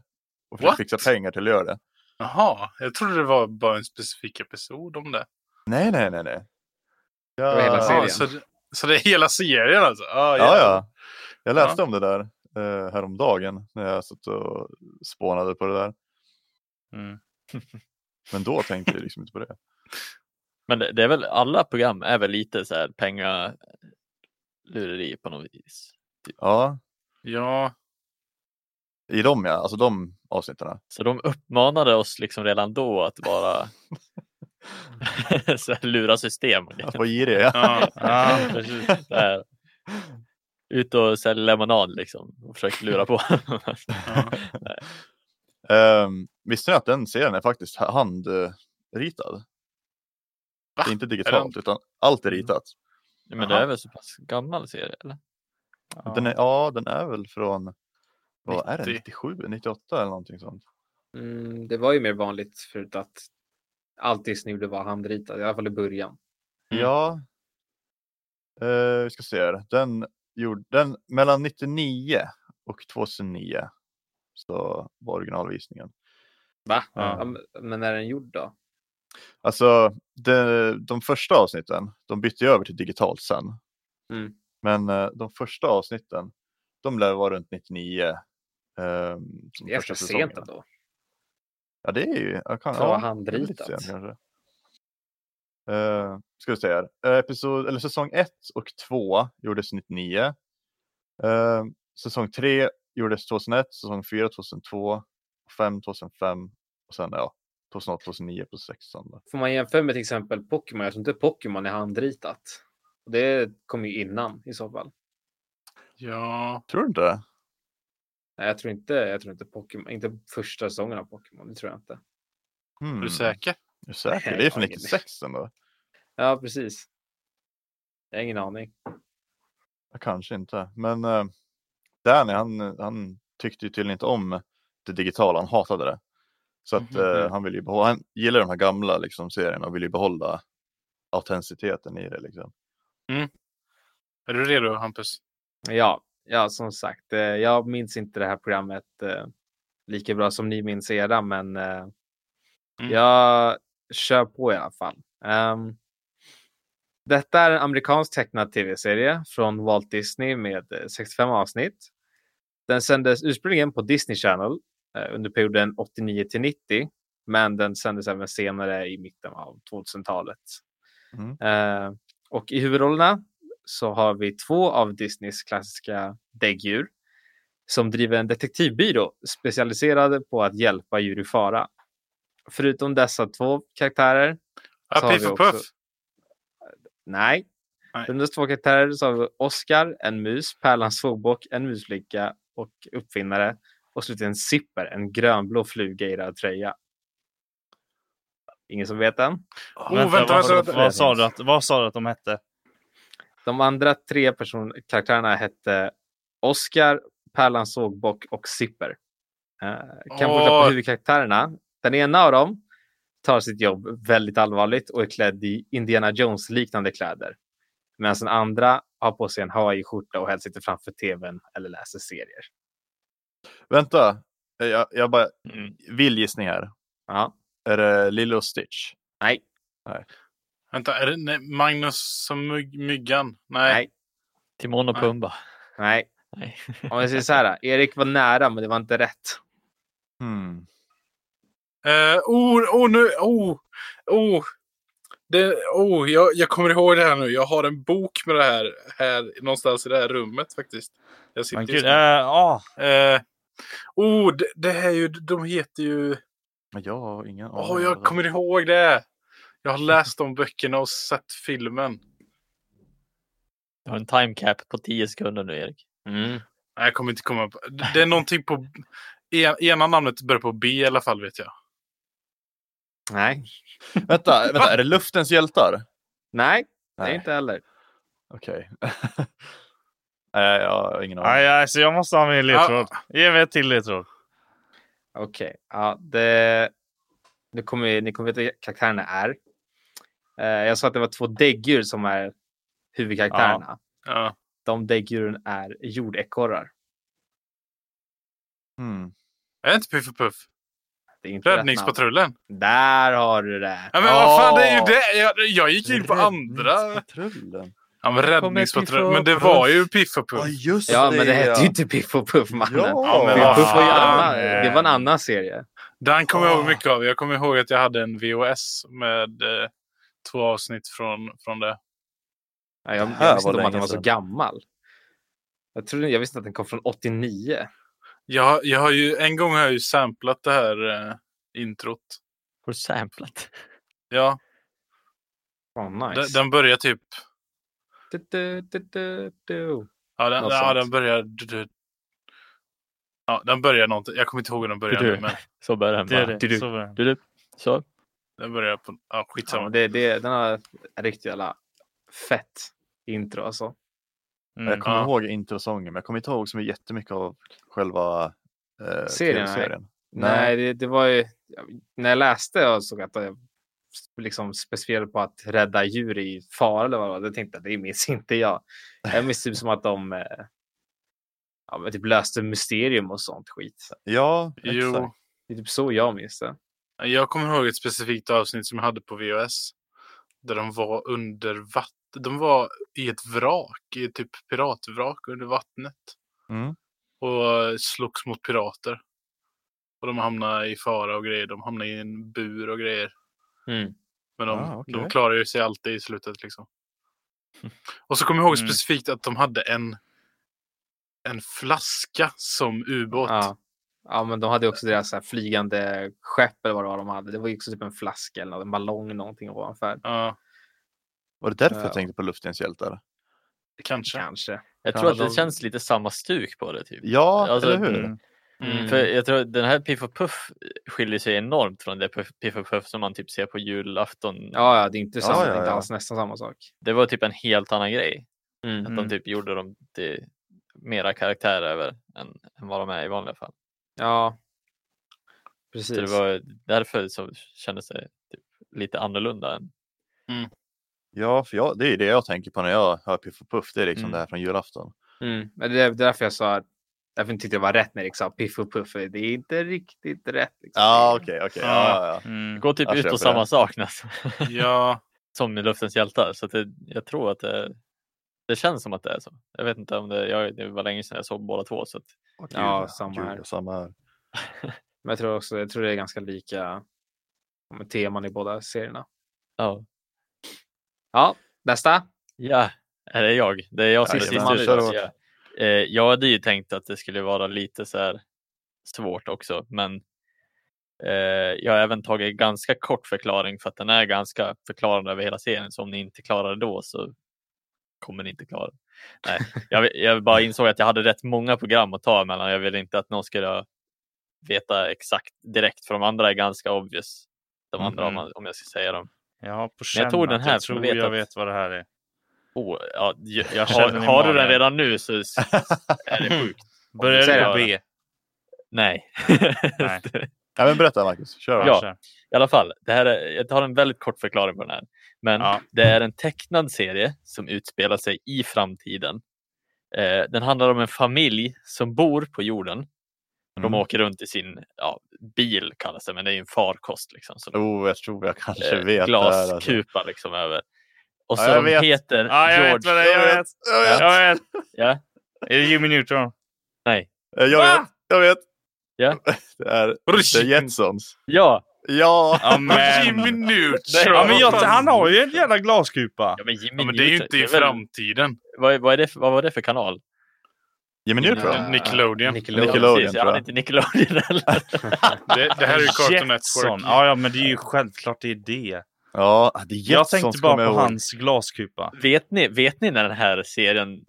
S3: och försökt
S4: What?
S3: fixa pengar till att göra det.
S4: Jaha, jag trodde det var bara en specifik episod om det.
S3: Nej, nej, nej, nej. Ja,
S2: var hela serien.
S4: Ja, så, det- så det är hela serien alltså? Ah,
S3: Ja, ja. Jag läste om det där eh, häromdagen när jag satt och spånade på det där.
S1: Mm.
S3: Men då tänkte jag liksom inte på det.
S5: Men det, det är väl alla program är väl lite så här pengalureri på något vis.
S3: Ja,
S4: Ja,
S3: i dem ja, alltså de avsnitten.
S5: Så de uppmanade oss liksom redan då att bara så här, lura system. och grejer.
S3: Vad girig jag är.
S4: ja.
S1: Ja,
S5: precis. Så här, ut och sälja lemonad liksom och försöka lura på.
S4: ja.
S3: Ehm, visste ni att den serien är faktiskt handritad? Det är inte digitalt, utan allt är ritat.
S5: Men det är väl så pass gammal serie? Eller?
S3: Den är, ja, den är väl från vad är det,
S4: 90?
S3: 97, 98 eller någonting sånt.
S2: Mm, det var ju mer vanligt förut att allt Disney gjorde var handritat, i alla fall i början.
S4: Mm.
S3: Ja. Eh, vi ska se här. Den gjorde den mellan 99 och 2009. Så var originalvisningen.
S2: Va?
S1: Ja.
S2: Ja, men- men när är den gjord då?
S3: Alltså de, de första avsnitten, de bytte ju över till digitalt sen.
S2: Mm.
S3: Men eh, de första avsnitten, de lär vara runt 99. Eh, som
S2: Det är
S3: första
S2: för
S3: säsongerna.
S2: sent ändå.
S3: Ja, det är ju... Jag kan,
S2: För att vara
S3: ja, det är väl lite
S2: handritat.
S3: sent kanske. Eh, ska vi se här. Eh, episod, eller säsong 1 och 2 gjordes 99. Eh, säsong 3 gjordes 2001, säsong 4 2002, 5 2005 och sen ja, 2008, 2009 på 16. Då.
S2: Får man jämföra med till exempel Pokémon? Jag tror inte Pokémon är handritat. Och Det kom ju innan i så fall.
S4: ja.
S3: Tror du inte det?
S2: Nej, jag tror inte, jag tror inte Pokémon, inte första säsongen av Pokémon, det tror jag inte.
S3: Hmm.
S4: Är du säker?
S3: Är du säker?
S2: Nej,
S3: Det är
S2: jag
S3: från
S2: har ingen
S3: 96 ändå.
S2: Ja, precis. Jag har ingen aning.
S3: Ja, Kanske inte, men eh, Danny han, han tyckte ju tydligen inte om det digitala, han hatade det. Så att
S5: Mhm.
S3: eh, han vill ju behålla, han gillar de här gamla liksom, serierna och vill ju behålla autenticiteten i det. Liksom.
S4: Är du redo Hampus?
S2: Ja, ja, som sagt, eh, jag minns inte det här programmet eh, lika bra som ni minns era, men eh,
S4: Mm.
S2: jag kör på i alla fall. Ehm, detta är en amerikansk tecknad tv-serie från Walt Disney med eh, 65 avsnitt. Den sändes ursprungligen på Disney Channel eh, under perioden 89 till 90, men den sändes även senare i mitten av 2000-talet.
S3: Mm.
S2: Eh, och i huvudrollerna så har vi två av Disneys klassiska däggdjur som driver en detektivbyrå specialiserade på att hjälpa djur i fara. Förutom dessa två karaktärer,
S4: Ja,
S2: Så har
S4: Ah, Piff
S2: vi
S4: och
S2: också-
S4: Puff.
S2: nej,
S4: Nej.
S2: förutom dessa två karaktärer så har vi Oscar, en mus, Pärlans svåbock, en musflicka och uppfinnare och slutligen Zipper, en grönblå fluga i röd tröja. Ingen som vet än?
S4: Oh, vänta, vänta,
S1: vad,
S4: vänta.
S1: Vad, sa du att, vad sa du att de hette?
S2: De andra tre person- karaktärerna hette Oscar, Pärlan Sågbock och Zipper. Eh, kan oh. på
S4: Åh.
S2: huvudkaraktärerna. Den ena av dem tar sitt jobb väldigt allvarligt och är klädd i Indiana Jones-liknande kläder. Medan den andra har på sig en Hawaii-skjorta och helst sitter framför tvn eller läser serier.
S3: Vänta, eh, jag, jag bara
S5: Mm.
S3: vill gissning här.
S2: Ja,
S3: Är det Lilo och Stitch?
S4: Vänta, är det nej, Magnus som myg, myggan? Nej.
S2: nej,
S5: Timon och
S4: Nej.
S5: Pumba.
S2: nej.
S5: Nej.
S2: Om jag säger så här, Erik var nära men det var inte rätt.
S3: Hmm.
S4: Eh, oh, oh, nu, oh, oh. Det, oh jag, jag kommer ihåg det här nu. Jag har en bok med det här, här någonstans i det här rummet faktiskt. Jag sitter
S1: Men
S4: just
S1: gud,
S4: nu.
S1: eh, ah,
S4: Eh, oh, det, det här är ju, de heter ju...
S3: Men jag har ingen aning.
S4: Åh,
S3: om
S4: jag
S3: det.
S4: kommer ihåg det! Jag har läst de böckerna och sett filmen.
S5: Du har en time cap på 10 sekunder nu Erik.
S4: Nej, jag kommer inte komma på... Det är någonting på... en- Ena namnet börjar på B i alla fall, vet jag.
S2: Nej,
S3: Vänta, vänta, är det Luftens hjältar?
S2: nej, det är
S3: Nej,
S2: inte heller.
S3: okej. Nej, jag har ingen aning.
S1: aj, aj, så jag måste ha min ledtråd. Ge mig ett till ledtråd.
S2: Okej, ja, det... Nu kommer, ju- ni kommer veta vilka karaktärerna är. Eh, jag sa att det var två däggdjur som är huvudkaraktärerna.
S4: Ja.
S2: De däggdjuren är jordekorrar.
S3: Hmm.
S4: Är inte Piff och Puff?
S2: Det är inte rätt namn.
S4: Räddningspatrullen?
S2: Där har du det.
S4: Ja, men vad fan, det är ju det! Jag, jag gick in på Typ andra.
S3: Räddningspatrullen.
S4: Ja, men
S5: Piff
S4: räddningspatrullen.
S5: och
S4: Men det
S5: Puff.
S4: var ju Piff och Puff.
S3: Ja, just
S2: Ja,
S3: det.
S2: men det hette ju inte Piff och Puff, mannen.
S3: Ja,
S4: men
S2: Piff och
S4: vad
S2: Puff var ju
S4: fan.
S2: annan,
S3: eh,
S2: det var en annan serie.
S4: Den kommer jag ihåg mycket av. Jag kommer ihåg att jag hade en VOS med eh, två avsnitt från, från det.
S2: Ja, jag,
S3: Det här
S2: jag visste
S3: var
S2: inte om att
S3: länge
S2: den var så
S3: sedan.
S2: gammal. Jag, trodde, jag visste inte att den kom från 89.
S4: Jag, jag har ju, en gång har jag ju samplat det här eh, introt.
S5: Har du samplat?
S4: Ja,
S2: Oh,
S4: den,
S2: nice.
S4: den börjar typ...
S2: Du, du, du, du, du.
S4: Ja, den,
S2: Något
S4: ja,
S2: sånt.
S4: den börjar... du- du- Ja, den börjar någonting. Jag kommer inte ihåg hur den börjar
S5: Du-
S4: nu, men
S5: Så börjar den
S1: Det är
S5: bara.
S1: det.
S5: Du,
S1: Så mm. var det.
S5: du, du. Så.
S4: den börjar på... Ja, skitsamma.
S2: Ja, Liksom. det, det, den har ett riktigt jävla fett intro alltså.
S1: Mm.
S3: Jag kommer
S4: Ja.
S3: ihåg introsången, men jag kommer inte ihåg så jättemycket av själva eh,
S2: Serien,
S3: serien.
S2: Nej, det, det var ju... När jag läste jag såg att jag liksom specificerade på att rädda djur i fara eller vad det var. Jag tänkte jag, det minns inte jag. Jag minns typ som att de eh, ja, men typ löste mysterium och sånt skit.
S3: Ja,
S4: Jo,
S3: exakt.
S2: Det är typ så jag minns det.
S4: jag kommer ihåg ett specifikt avsnitt som jag hade på VOS. Där de var under vatten. De var i ett vrak, i ett typ piratvrak under vattnet.
S3: Mm.
S4: Och slogs mot pirater. Och de hamnade i fara och grejer. De hamnade i en bur och grejer.
S2: Mm.
S4: Men de,
S3: Ah, okej.
S4: de klarar ju sig alltid i slutet liksom. Och så kommer jag ihåg
S1: Mm.
S4: specifikt att de hade en, en flaska som ubåt.
S2: Ja. ja, men de hade ju också deras så här flygande skepp eller vad det var de hade. Det var ju också typ en flaska eller något, en ballong någonting ovanför.
S4: Ja,
S3: Var det därför
S2: Ja.
S3: jag tänkte på Luftens hjältar?
S4: kanske.
S2: Kanske.
S5: Jag
S3: Ja,
S5: tror att
S3: de-
S5: det känns lite samma stuk på det. Typ.
S3: Ja,
S5: Alltså,
S3: eller hur?
S1: mm.
S4: Mm.
S5: För jag tror att den här Piff och Puff skiljer sig enormt från det Puff- Piff och Puff som man typ ser på julafton.
S2: Ja, ja, det är inte,
S3: Ja,
S2: samma,
S3: ja,
S2: det är inte
S3: ja.
S2: alls nästan samma sak.
S5: Det var typ en helt annan grej.
S2: Mm.
S5: Att de typ gjorde dem till mera karaktär över än, än vad de är i vanliga fall.
S2: Ja,
S5: Så det
S2: precis.
S5: var därför så kändes det typ lite annorlunda. Än.
S3: Ja, för jag, det är det jag tänker på när jag hör Piff och Puff. Det är liksom
S1: Mm.
S3: det här från julafton.
S2: Mm. Men det är därför jag sa att därför jag tyckte det var rätt när Erik sa piff och puff. Det är inte riktigt rätt. Liksom.
S3: Ja, okej, okej.
S4: Ja.
S3: Mm. Ja, ja, ja.
S1: Mm.
S5: Går typ
S3: Jag
S5: ut
S3: köper
S5: och samma
S3: det.
S5: sak nästan.
S4: Ja,
S5: som i Luftens hjältar. Så att det, jag tror att det, det känns som att det är så. Jag vet inte om det, jag, det var länge sedan jag såg båda två. Så att,
S3: Åh, gud,
S2: Ja, samma här.
S3: Gud, samma här.
S2: Men jag tror också jag tror det är ganska lika ja, men teman i båda serierna.
S5: ja.
S2: Ja, nästa.
S5: ja, är det jag? Det är jag som är
S3: Jajamän,
S5: sist ut.
S3: kör
S5: alltså, ja. Eh, Jag hade ju tänkt att det skulle vara lite så här svårt också, men eh, jag har även tagit ganska kort förklaring för att den är ganska förklarande över hela serien. Så om ni inte klarar det då så kommer ni inte klara det. Nej, jag, jag bara insåg att jag hade rätt många program att ta mellan. Jag ville inte att någon skulle veta exakt direkt, för de andra är ganska obvious. De andra om, man, om jag ska säga dem.
S1: Jag har på
S5: Men
S1: känn
S5: jag tog den
S1: att
S5: här
S1: jag
S5: för
S1: tror
S5: jag vet
S1: jag
S5: att-
S1: vet vad det här är.
S5: Oh, ja, jag, jag
S1: känner
S5: har,
S1: den i
S5: har du den
S1: magen.
S5: redan nu så s- är det sjukt.
S1: Börjar
S2: Säg
S1: det
S2: det.
S1: på B?
S5: Nej.
S1: Nej.
S3: Ja, men berätta Marcus, kör.
S5: Ja.
S1: kör.
S5: I alla fall, det här är, jag tar en väldigt kort förklaring på den här. Men
S1: Ja.
S5: det är en tecknad serie som utspelar sig i framtiden. Eh, den handlar om en familj som bor på jorden. De
S3: Mm.
S5: åker runt i sin ja, bil kallas det, men det är ju en farkost. Liksom, som,
S3: Oh, jag tror jag kanske
S5: eh,
S3: vet. det här, alltså.
S5: glaskupa liksom över.
S3: Ja,
S5: Och så
S3: jag
S5: de
S3: vet.
S5: heter
S1: Ja, jag vet
S5: George.
S1: vad det är. Jag vet.
S3: Jag vet.
S1: Jag vet.
S5: Ja,
S1: Är det Jimmy Neutron?
S3: Eh, Jag vet. Jag vet.
S5: Ja.
S3: Det är The
S4: Rush.
S3: Jetsons.
S5: ja.
S3: Ja.
S1: Ja,
S4: Jimmy
S1: men.
S4: Neutron!
S1: Ja, men jag, han har ju en jävla glaskupa.
S5: ja men, Jimmy
S4: Ja, men det är ju
S5: Neutron,
S4: inte i
S5: väl-
S4: framtiden.
S5: vad, vad, är det för, vad var det för kanal?
S3: Jimmy
S2: Ja.
S3: Neutron.
S4: Nickelodeon.
S2: Nickelodeon.
S3: Nickelodeon,
S5: precis.
S3: tror
S5: Jag
S3: jag.
S5: hade inte Nickelodeon heller.
S4: Det, det här är ju Cartoon
S1: Jetson.
S4: Network.
S1: Ja, ja, men det är ju självklart det är det.
S3: Ja, The Jetsons
S1: Jag tänkte
S3: kommer
S1: bara
S3: jag
S1: på
S3: ihåg.
S1: hans glaskupa.
S5: vet, ni, vet ni när den här serien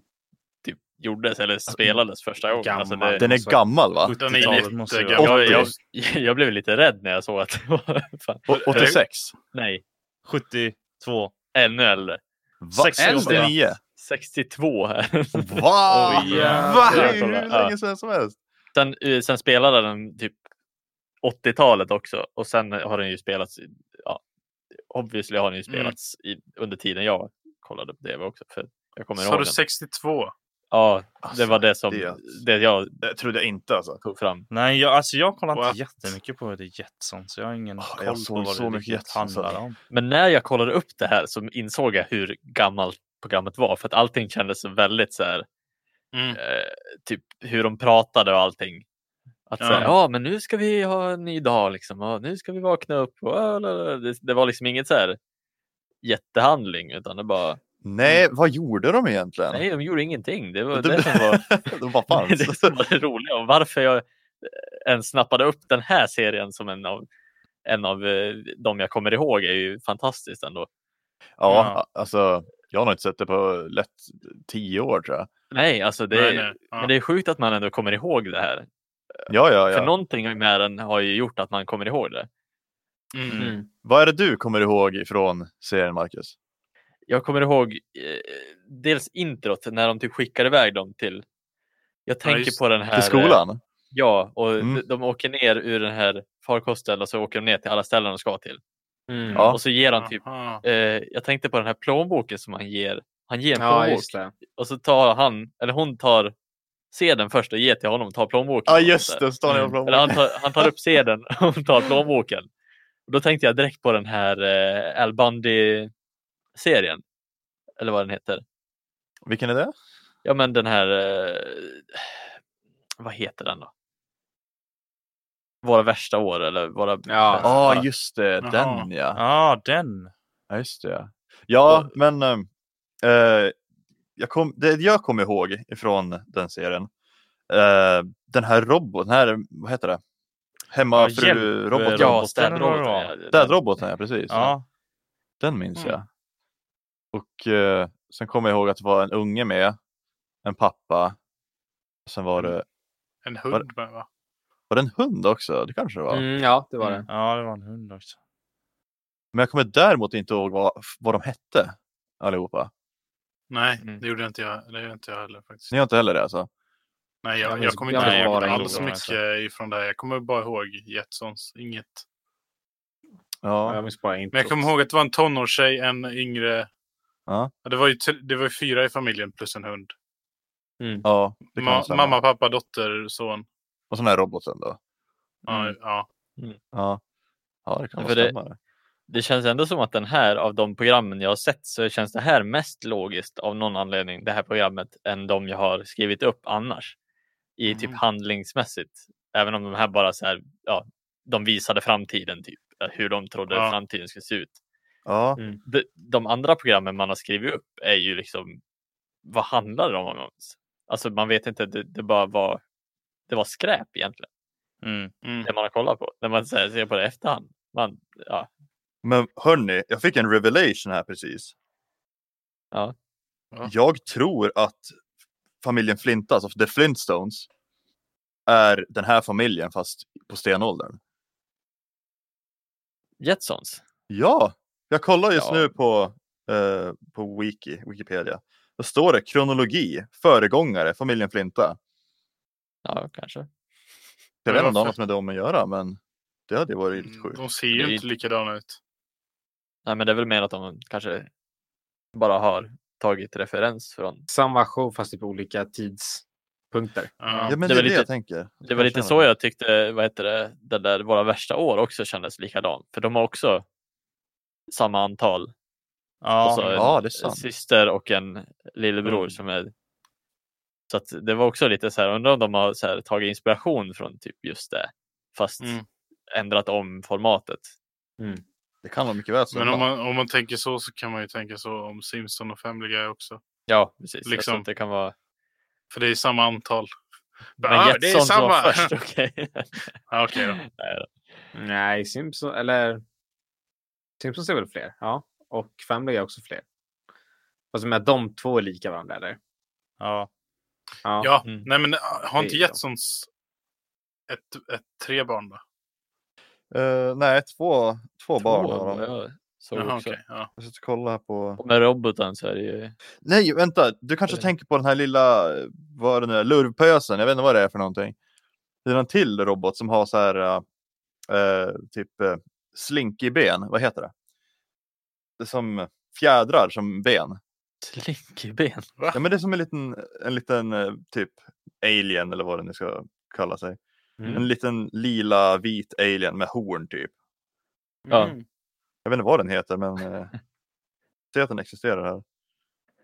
S5: typ gjordes eller spelades första gången? Alltså
S2: Gammal.
S5: det,
S3: Den är gammal va?
S4: Den är
S1: 70-talet måste det vara.
S4: jättegammal.
S5: jag, jag, jag blev lite rädd när jag såg att det var... Fan,
S3: Å- 86?
S5: nej,
S1: 72.
S5: ännu äldre.
S3: Va?
S1: 69.
S3: 69?
S5: 62 här.
S3: Va?
S1: Oj,
S3: Va?
S5: jävlar.
S3: Det är ju hur
S5: Ja.
S3: länge sedan som helst.
S5: Sen, eh, sen spelade den typ 80-talet också och sen har den ju spelats, i- ja, obviously har den ju spelats i, under tiden jag kollade på det också. För jag kommer
S4: Sa
S5: ihåg
S4: du
S5: den.
S4: 62?
S5: Ja, det
S3: Alltså,
S5: var det som
S3: det-
S5: det jag
S3: Det trodde jag inte alltså.
S5: tog fram.
S1: Nej, jag, alltså jag kollar
S4: What?
S1: inte jättemycket på det Jetson, så jag har ingen
S3: Ah, jag
S1: koll
S3: såg
S1: på vad
S3: så
S1: det
S3: mycket
S1: riktigt
S3: Jetson, så-
S1: handlar om.
S5: Men när jag kollade upp det här så insåg jag hur gammalt programmet var för att allting kändes så väldigt så här,
S4: Mm.
S5: eh, typ hur de pratade och allting. Att
S4: Ja.
S5: säga, ja men nu ska vi ha en ny dag liksom, och nu ska vi vakna upp. Och, äh, la, la, la." det, det var liksom inget så här jättehandling utan det bara,
S3: Nej, vad gjorde de egentligen?
S5: nej de gjorde ingenting. Det var
S3: De-
S5: det som var
S3: de bara
S5: Det är
S3: fanns.
S5: det som var det roliga och varför jag eh, ens snappade upp den här serien som en av, en av eh, de jag kommer ihåg är ju fantastiskt ändå.
S3: Ja, alltså. Jag har nog inte sett det på lätt tio år tror jag.
S5: Nej, alltså det,
S4: Nej, nej. Ja.
S5: Men det är sjukt att man ändå kommer ihåg det här.
S3: Ja, ja, ja.
S5: För någonting med den har ju gjort att man kommer ihåg det.
S4: Mm.
S5: Mm.
S3: Vad är det du kommer ihåg från serien, Marcus?
S5: Jag kommer ihåg eh, dels introt när de typ skickar iväg dem till jag tänker
S4: just
S5: på den här...
S3: Till
S5: eh,
S3: skolan?
S5: Ja, och
S3: Mm.
S5: de, de åker ner ur den här farkosten och så åker de ner till alla ställen de ska till.
S3: Ja.
S5: Och så ger han typ
S4: Aha.
S5: Eh, jag tänkte på den här plånboken som han ger. Han ger en
S2: Ja,
S5: plånbok
S2: just det.
S5: och så tar han, eller hon tar sedeln först och ger till honom och tar plånboken.
S3: Ja,
S5: och
S3: just
S5: sådär.
S3: det. Står
S4: Mm.
S3: mm.
S5: Eller han tar, han tar upp sedeln och hon tar plånboken. Och då tänkte jag direkt på den här eh, Al Bundy-serien. Eller vad den heter.
S3: Vilken är det?
S5: Ja, men den här... Eh, vad heter den då? Våra värsta år eller våra...
S2: Ja.
S5: bästa.
S3: Ja, just det.
S4: Jaha.
S3: Den ja.
S1: Ja, ah, den.
S3: Ja, just det. ja. Ja, men ehm, eh, jag kom, det jag kom ihåg ifrån den serien, eh, den här roboten, den här, vad heter det? Hemmafru-roboten?
S1: hjälp, roboten
S3: Ja,
S5: ja
S1: eller vad det
S5: städroboten.
S1: var.
S5: ja. Den-
S3: Städroboten, ja precis.
S1: Ja,
S3: Den minns
S4: Mm.
S3: jag. Och eh, sen kommer jag ihåg att det var en unge med, en pappa. Sen var det,
S4: En hund med va?
S3: var det en hund också? Det kanske det var.
S2: Mm, ja, det var det.
S4: Mm.
S1: ja, det var en hund också.
S3: Men jag kommer däremot inte ihåg vad, vad de hette allihopa.
S4: Nej,
S5: Mm.
S4: det gjorde inte jag, det gjorde inte jag heller faktiskt.
S3: Ni har inte heller det alltså?
S4: Nej, jag,
S2: Jag
S4: jag,
S2: minns-
S4: kommer
S2: jag
S4: inte
S2: minns
S4: ihåg
S2: bara
S4: alls
S1: logon,
S4: mycket ifrån det. här. Jag kommer bara ihåg Jetsons, inget.
S2: Ja, Jag minns bara
S4: Men jag
S2: introt.
S4: kommer ihåg att det var en tonårstjej, en yngre.
S3: Ja.
S4: Det var ju tre- det var ju fyra i familjen plus en hund.
S3: ja det kan
S4: Ma-
S3: stämma.
S4: mamma, pappa, dotter, son.
S3: Och sån här roboten då?
S4: Ja, ja.
S3: Ja, ja det kan
S5: Ja,
S3: nog
S5: för det-
S3: stämma. Det...
S5: Det känns ändå som att den här av de programmen jag har sett så känns det här mest logiskt av någon anledning, det här programmet, än de jag har skrivit upp annars. I typ
S4: Mm.
S5: handlingsmässigt. Även om de här bara så här, ja, de visade framtiden typ. eh, Hur de trodde
S4: Ja.
S5: framtiden skulle se ut.
S3: Ja,
S5: De, de andra programmen man har skrivit upp är ju liksom, vad handlar de om ens? Alltså man vet inte, det, det bara var, det var skräp egentligen.
S1: Mm.
S4: Mm.
S5: Det man har kollat på, när man så här, ser på det i efterhand. Man, ja,
S3: men hörni, jag fick en revelation här precis.
S5: Ja.
S4: Ja.
S3: Jag tror att familjen Flint, alltså The Flintstones, är den här familjen fast på stenåldern.
S5: Jetsons.
S3: Ja, jag kollar just
S5: Ja.
S3: nu på, eh, på Wiki, Wikipedia. Då står det kronologi, föregångare, familjen Flinta.
S5: Ja, kanske.
S3: Jag
S4: Men
S3: vet inte om det har
S4: varför?
S3: något med dem att göra, men det hade ju varit lite sjukt.
S4: De ser
S5: Det är
S4: ju
S5: ju-
S4: inte likadana ut.
S5: Nej, men det är väl mer att de kanske bara har tagit referens från.
S2: Samma show fast typ olika tidspunkter.
S4: Ja.
S3: Ja, men
S5: det
S3: det, är
S5: var
S3: det
S5: lite-
S3: jag tänker.
S5: Det var lite
S3: Kanske
S5: så jag tyckte, vad heter det, den där Våra värsta år också kändes likadant. För de har också samma antal.
S1: Ja,
S5: och så en
S3: ja, det är sant.
S5: syster och en lillebror
S1: Mm.
S5: som är... Så att det var också lite så här, undrar om de har så här, tagit inspiration från typ just det. Fast
S4: Mm.
S5: ändrat om formatet.
S3: Det kan de mycket väl
S4: Men
S3: stämma.
S4: om man, om man tänker så så kan man ju tänka så om Simpson och Family Guy också.
S5: Ja, precis. Jag
S4: Liksom.
S5: tror att det kan vara...
S4: För det är samma antal.
S5: Men
S4: Ja, det är
S5: Jetsons var
S4: samma.
S5: först, okej.
S4: Ja, okej då.
S5: Nej,
S2: Nej, Simpsons, eller... Simpsons är väl fler? Ja. Och Family är också fler. Alltså med de två är lika varandra, eller?
S1: ja.
S2: Ja.
S4: Ja,
S5: Mm.
S4: nej men äh, har
S2: Det
S4: inte
S2: är de.
S4: Jetsons ett, ett, tre barn då?
S3: Eh, nej, två, två, barn har de.
S5: vad jag såg
S4: Jaha,
S5: också.
S4: okej. Ja.
S3: Jag sitter och kollar här på...
S5: Och med roboten så är det ju...
S3: Nej, vänta! Du kanske
S5: Eh.
S3: tänker på den här lilla, eh, vad är det nu är, lurvpösen. Jag vet inte vad det är för någonting. Det är en till robot som har så här, eh, eh, typ eh, slinkig ben. Vad heter det? Det är som fjädrar som ben.
S5: Slinkyben?
S3: Ja, men det är som en liten, en liten eh, typ alien eller vad den nu ska kalla sig.
S2: Mm.
S3: En liten lila vit alien med horn typ.
S5: Ja.
S2: Mm.
S3: Jag vet inte vad den heter men eh, ser att den existerar här.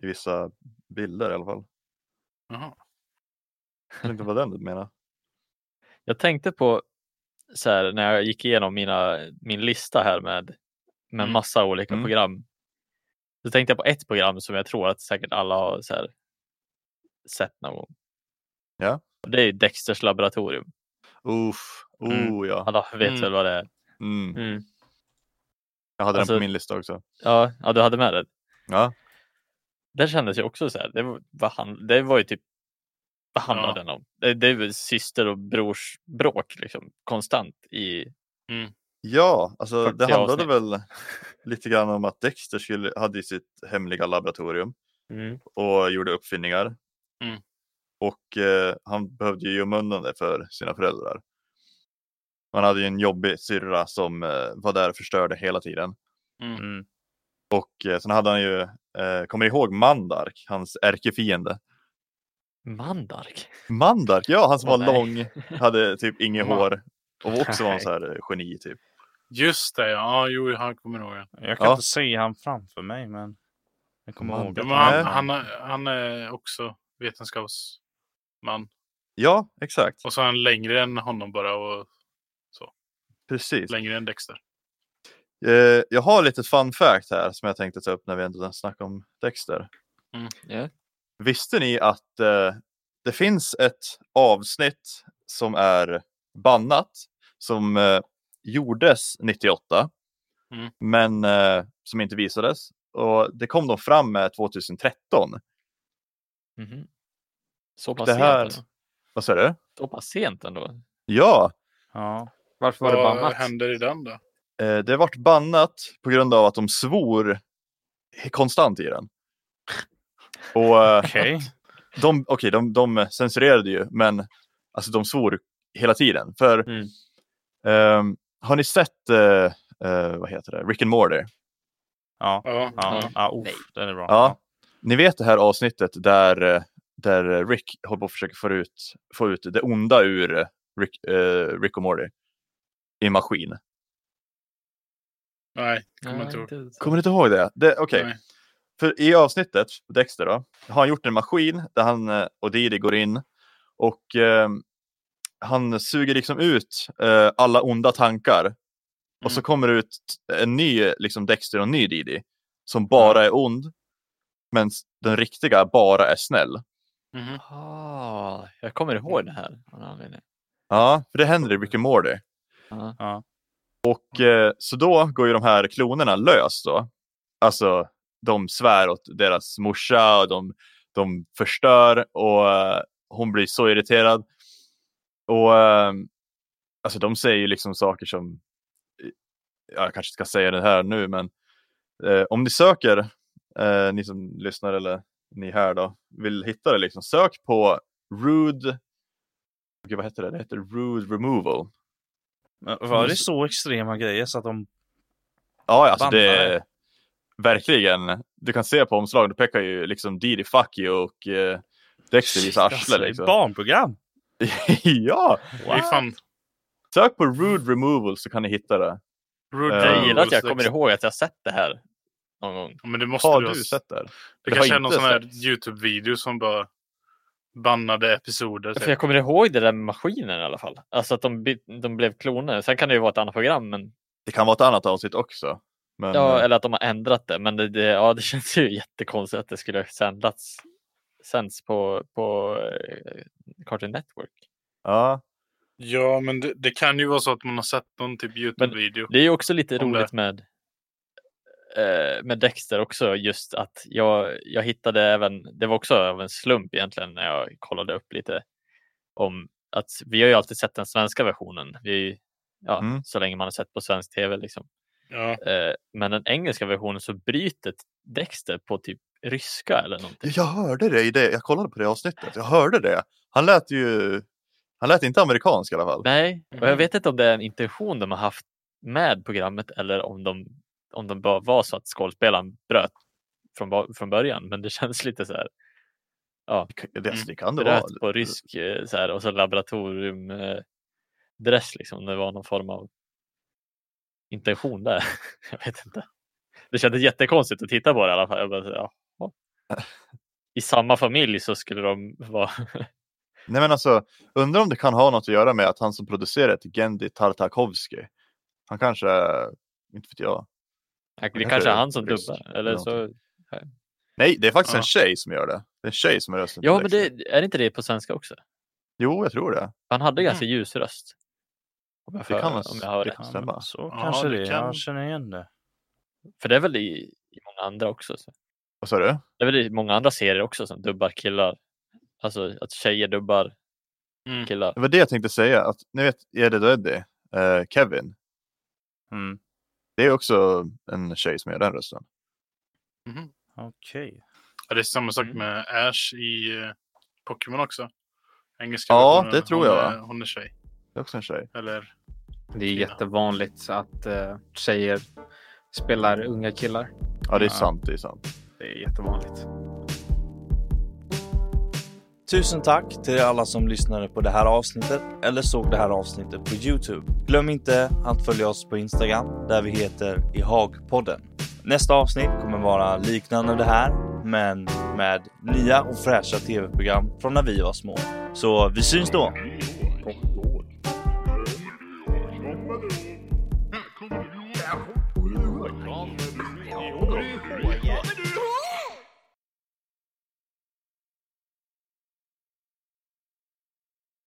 S3: I vissa bilder i alla fall.
S4: Jaha.
S3: Jag vet inte vad den du menar.
S5: Jag tänkte på så här, när jag gick igenom mina, min lista här med, med
S4: Mm.
S5: massa olika
S3: Mm.
S5: program. Så tänkte jag på ett program som jag tror att säkert alla har så här, sett någon gång.
S3: Ja.
S5: Och det är ju Dexters laboratorium.
S3: Uff, oh
S1: Mm.
S3: ja.
S5: Alla vet
S4: Mm.
S5: väl vad det är?
S3: Mm.
S2: Mm.
S3: Jag hade den
S5: Alltså-
S3: på min lista också.
S5: Ja, ja du hade med det.
S3: Ja.
S5: Det kändes ju också så här. Det var, vad han, det var ju typ vad handlade
S4: Ja.
S5: den om? Det, det är väl syster och brors bråk liksom konstant i
S3: Ja, alltså det
S5: 40
S3: handlade
S5: avsnitt.
S3: väl lite grann om att Dexter skulle, hade ju sitt hemliga laboratorium
S2: Mm.
S3: och gjorde uppfinningar.
S4: Mm.
S3: Och eh, han behövde ju gömma undan det för sina föräldrar. Man hade ju en jobbig syrra som eh, var där och förstörde hela tiden.
S4: Mm.
S3: Och eh, sen hade han ju, eh, kommer ni ihåg Mandark, hans ärkefiende?
S5: Mandark.
S3: Mandark, ja han som
S5: Åh,
S3: var
S5: nej.
S3: lång, hade typ inget
S4: Man-
S3: hår och också var en
S2: Nej.
S3: så här eh, geni typ.
S4: Just det, ja. ja jo, han kommer ihåg det.
S1: Jag kan
S3: Ja.
S1: inte se han framför mig, men jag kommer
S3: Man-
S1: ihåg
S4: Ja,
S1: att
S4: men han,
S3: Nej.
S4: han, han är också vetenskapsman.
S3: Ja, exakt.
S4: Och så är han längre än honom bara och
S3: Precis.
S4: längre än Dexter.
S3: Eh, jag har lite fun fact här som jag tänkte ta upp när vi ändå snackar om Dexter.
S4: Mm.
S5: Ja.
S3: Visste ni att eh, det finns ett avsnitt som är bannat som eh, gjordes 98
S4: Mm.
S3: men eh, som inte visades och det kom de fram med 2013.
S5: Mhm. Så pass
S3: Det här-
S5: sent ändå.
S3: Vad säger du?
S5: Så pass sent ändå.
S3: Ja,
S1: Ja.
S2: Varför var det
S4: Vad
S2: bannat?
S4: händer i den då?
S3: eh, det vart bannat på grund av att de svor konstant i den. Och eh,
S1: Okej.
S3: de, okej, de, de censurerade ju, men alltså, de svor hela tiden. För
S2: Mm.
S3: ehm, har ni sett eh, eh, vad heter det? Rick and Morty?
S1: Ja.
S4: Ja.
S1: Ja.
S5: Ja.
S1: ja.
S5: Nej.
S1: Uff, den är bra.
S3: Ja. Ni vet det här avsnittet där, eh, där Rick håller på att försöka få ut, få ut det onda ur eh, Rick, eh, Rick och Morty i en maskin.
S4: Nej, kommer
S5: Nej,
S4: inte ihåg.
S5: inte-
S3: Kommer ni inte ihåg det? det Okej,
S4: Nej.
S3: för i avsnittet, Dexter då, har han gjort en maskin där han eh, och Didi går in och eh, han suger liksom ut eh, alla onda tankar. Och så
S4: Mm.
S3: kommer det ut en ny liksom Dexter och en ny Didi som bara är ond. Men den riktiga bara är snäll.
S5: Mm-hmm.
S4: Mhm.
S5: Ah, jag kommer ihåg det här. av någon anledning.
S3: Ja, för det händer i Rick and Morty.
S5: Ja.
S1: Ja.
S3: Och eh, så då går ju de här klonerna lös då. Alltså, de svär åt deras morsa och de, de förstör och eh, hon blir så irriterad. Och eh, alltså de säger ju liksom saker som, ja, jag kanske ska säga det här nu, men eh, om ni söker, eh, ni som lyssnar eller ni här då, vill hitta det liksom, sök på rude, Gud, vad heter det? Det heter rude removal.
S1: Men Var det så extrema grejer så att de...
S3: Ja, ja, alltså
S1: Bandare.
S3: det är verkligen. Du kan se på omslaget, då pekar ju liksom Didi Fuck you och eh, Dexter visar
S1: alltså, det
S3: arslet.
S1: är
S3: Liksom.
S1: barnprogram!
S3: ja,
S4: Det är fan
S3: sök på Rude Removal så kan ni hitta det.
S4: rude.
S3: Eh,
S5: Jag gillar att jag
S4: rules,
S5: kommer
S4: liksom.
S5: ihåg att jag sett det här någon gång.
S4: Ja, Men det måste
S3: Har
S4: du ha
S3: du sett det?
S4: Det
S3: Det har
S4: kanske är
S3: inte
S4: någon sån här YouTube-video som bara bannade episoder. typ.
S5: För jag kommer ihåg det där med maskinen i alla fall. Alltså att de, by- de blev kloner. Sen kan det ju vara ett annat program, men,
S3: Det kan vara ett annat avsnitt också. Men,
S5: ja,
S3: eh,
S5: eller att de har ändrat det. Men det, det, ja, det känns ju jättekonstigt att det skulle ha sändats sänds på, på eh, Cartoon Network.
S3: ja.
S4: Ja, men det, det kan ju vara så att man har sett någon typ YouTube-video.
S5: Det är ju också lite
S4: Om det.
S5: roligt med, eh, med Dexter också, just att jag, jag hittade även, det var också av en slump egentligen när jag kollade upp lite om att vi har ju alltid sett den svenska versionen, vi, är ju- ja,
S3: Mm.
S5: så länge man har sett på svensk tv. Liksom.
S4: Ja.
S5: Eh, men den engelska versionen så bryter Dexter på typ ryska eller någonting.
S3: Jag hörde det i det. Jag kollade på det avsnittet. Jag hörde det. Han lät ju... Han lät inte amerikansk i alla fall.
S5: Nej, och
S3: Mm.
S5: jag
S4: Mhm.
S5: vet inte om det är en intention de har haft med programmet eller om de, om de bara var så att skådespelaren bröt från, ba- från början, men det känns lite så här
S3: Det, det kan det vara.
S5: bröt på rysk eh, så här, och så laboratoriumdress liksom. Det var någon form av intention där. Jag vet inte. Det kändes jättekonstigt att titta på det i alla fall. Jag bara, så här, "Jaha." I samma familj så skulle de vara
S3: Nej men alltså, undrar om det kan ha något att göra med att han som producerar heter Gendy Tartakovsky. Han kanske, inte vet jag.
S5: Det
S3: kanske
S5: kanske är
S3: är
S5: han som
S3: rysk
S5: dubbar.
S3: eller
S5: Eller så...
S3: någonting. Nej, det är faktiskt en
S4: Ja.
S3: tjej som gör det. Det är en tjej som är rösten.
S5: Ja,
S3: till
S5: men det,
S3: Dexter.
S5: är det inte det på svenska också?
S3: Jo, jag tror det.
S5: Han hade ganska ljus röst. Om jag,
S3: Det
S5: hör,
S3: kan
S5: om
S3: vara-
S5: jag hör
S3: det
S5: rätt.
S3: kan-
S1: Ja,
S3: Stämma.
S1: men Så
S4: Ja,
S1: kanske
S4: det
S1: det.
S4: kan-
S1: Jag känner igen det.
S5: För det är väl i, i många andra också. Så.
S3: Vad sa du?
S5: Det är väl i många andra serier också som dubbar killar. Alltså att tjejer dubbar
S4: Mm.
S5: killar.
S3: Det var det jag tänkte säga. Att, ni vet, Eddie och Eddie, eh, Kevin.
S1: Mm.
S3: Det är också en tjej som gör den rösten.
S1: Okej.
S4: Ja, det är samma sak
S5: Mm.
S4: med Ash i eh, Pokémon också. Engelska
S3: Ja,
S4: versionen.
S3: det tror
S4: hon,
S3: jag,
S4: är-
S3: va?
S4: Hon är tjej.
S3: Det är också en tjej.
S4: Eller,
S2: Det är jättevanligt att eh, tjejer spelar unga killar.
S3: Ja, det är
S1: Ja.
S3: sant. Det är sant.
S2: Det är jättevanligt.
S1: Tusen tack till alla som lyssnade på det här avsnittet eller såg det här avsnittet på Youtube. Glöm inte att följa oss på Instagram där vi heter ihagpodden. Nästa avsnitt kommer vara liknande det här men med nya och fräscha tv-program från när vi var små. Så vi syns då!
S6: Kommer du ihåg?